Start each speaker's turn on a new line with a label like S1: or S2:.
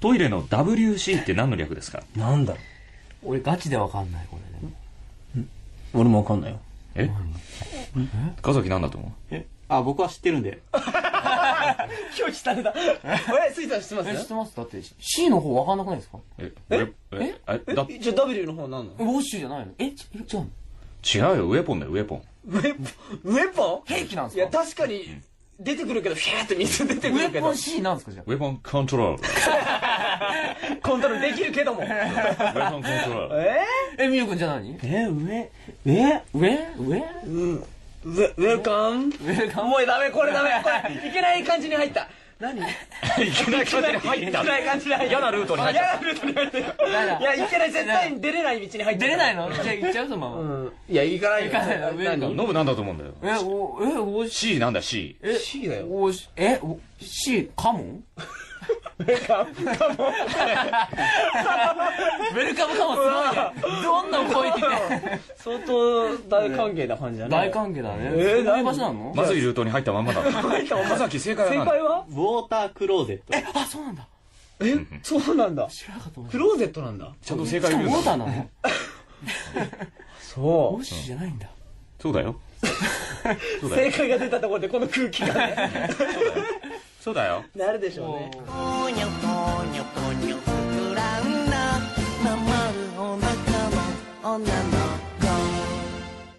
S1: トイレの WC って何の略ですか
S2: なんだろ
S3: 俺ガチでわかんない、これね。
S2: う俺もわかんないよ。
S1: え岡崎なんだと思う
S4: えあ、僕は知ってるん で。
S2: 表記された。え、スイさん知ってま
S3: え、知ってますだって、C の方わかんなくないですか
S1: えええええだ
S2: じゃあ W の方なんの
S3: ウォッシュじゃないのえ、ち違うの
S1: 違うよ、ウェポンだよ、ウェポン。
S2: ウェポンウェポン
S3: 兵器なんす
S2: い
S3: か
S2: や、確かに、出てくるけど、フィャーって水出て
S3: ウ
S2: くるけ
S3: ェポ
S2: ど
S3: ン、C なんですかじゃあ。
S1: ウェポンコントロール。
S2: コントロールできるけども。え
S1: ウェポンコントロ ール。
S3: え、みゆくんじゃない何
S2: え、上、え
S3: 上上
S2: ウェ、ウェルカム
S3: ウェルカム
S2: もうダメ、これ ダメ。これいけない感じに入った。何いけない感じに入った。いけない感じに入った。嫌なルートに入った。嫌なルートに入った
S3: だ
S2: いや、いけない、絶対に出れない道に入った。
S3: 出れない
S2: の
S3: のじゃあ行っちゃうそのま
S2: う
S3: ま。
S2: ん。いや、行かないよ。
S3: 行かないのウェルカム
S1: ノブなんだと思うんだよ。
S3: え、お、え、ウォッシ
S1: C なんだ、C。
S3: ュ。え、
S2: C だよ
S3: ウォッシュ、え、お C、カモン ウェルカムカモンすごいね。どんどん超えてて。
S2: 相当大歓迎な感じだね。
S3: 大歓迎だね。
S2: えー
S3: そういう場所なの
S1: まずいルートに 入ったまんまだ。岡崎正解は
S2: 正
S1: 何
S2: 解は
S4: ウォータークローゼット。
S3: あ、そうなんだ。
S2: え、そうなんだ。
S3: 知らなかったもん。
S2: クローゼットなんだ。
S1: ちゃんと正
S3: しか
S1: 解
S3: も
S1: 言う
S3: モーター
S1: の
S3: なの
S2: そ
S3: ウォッシュじゃないんだ。
S1: そうだよ。
S2: う。正解が出たところでこの空気がね、
S1: そうだよ。
S2: なるでしょうね。
S5: 「こにょこにょこにょ膨らんだ」「ままるお腹の女の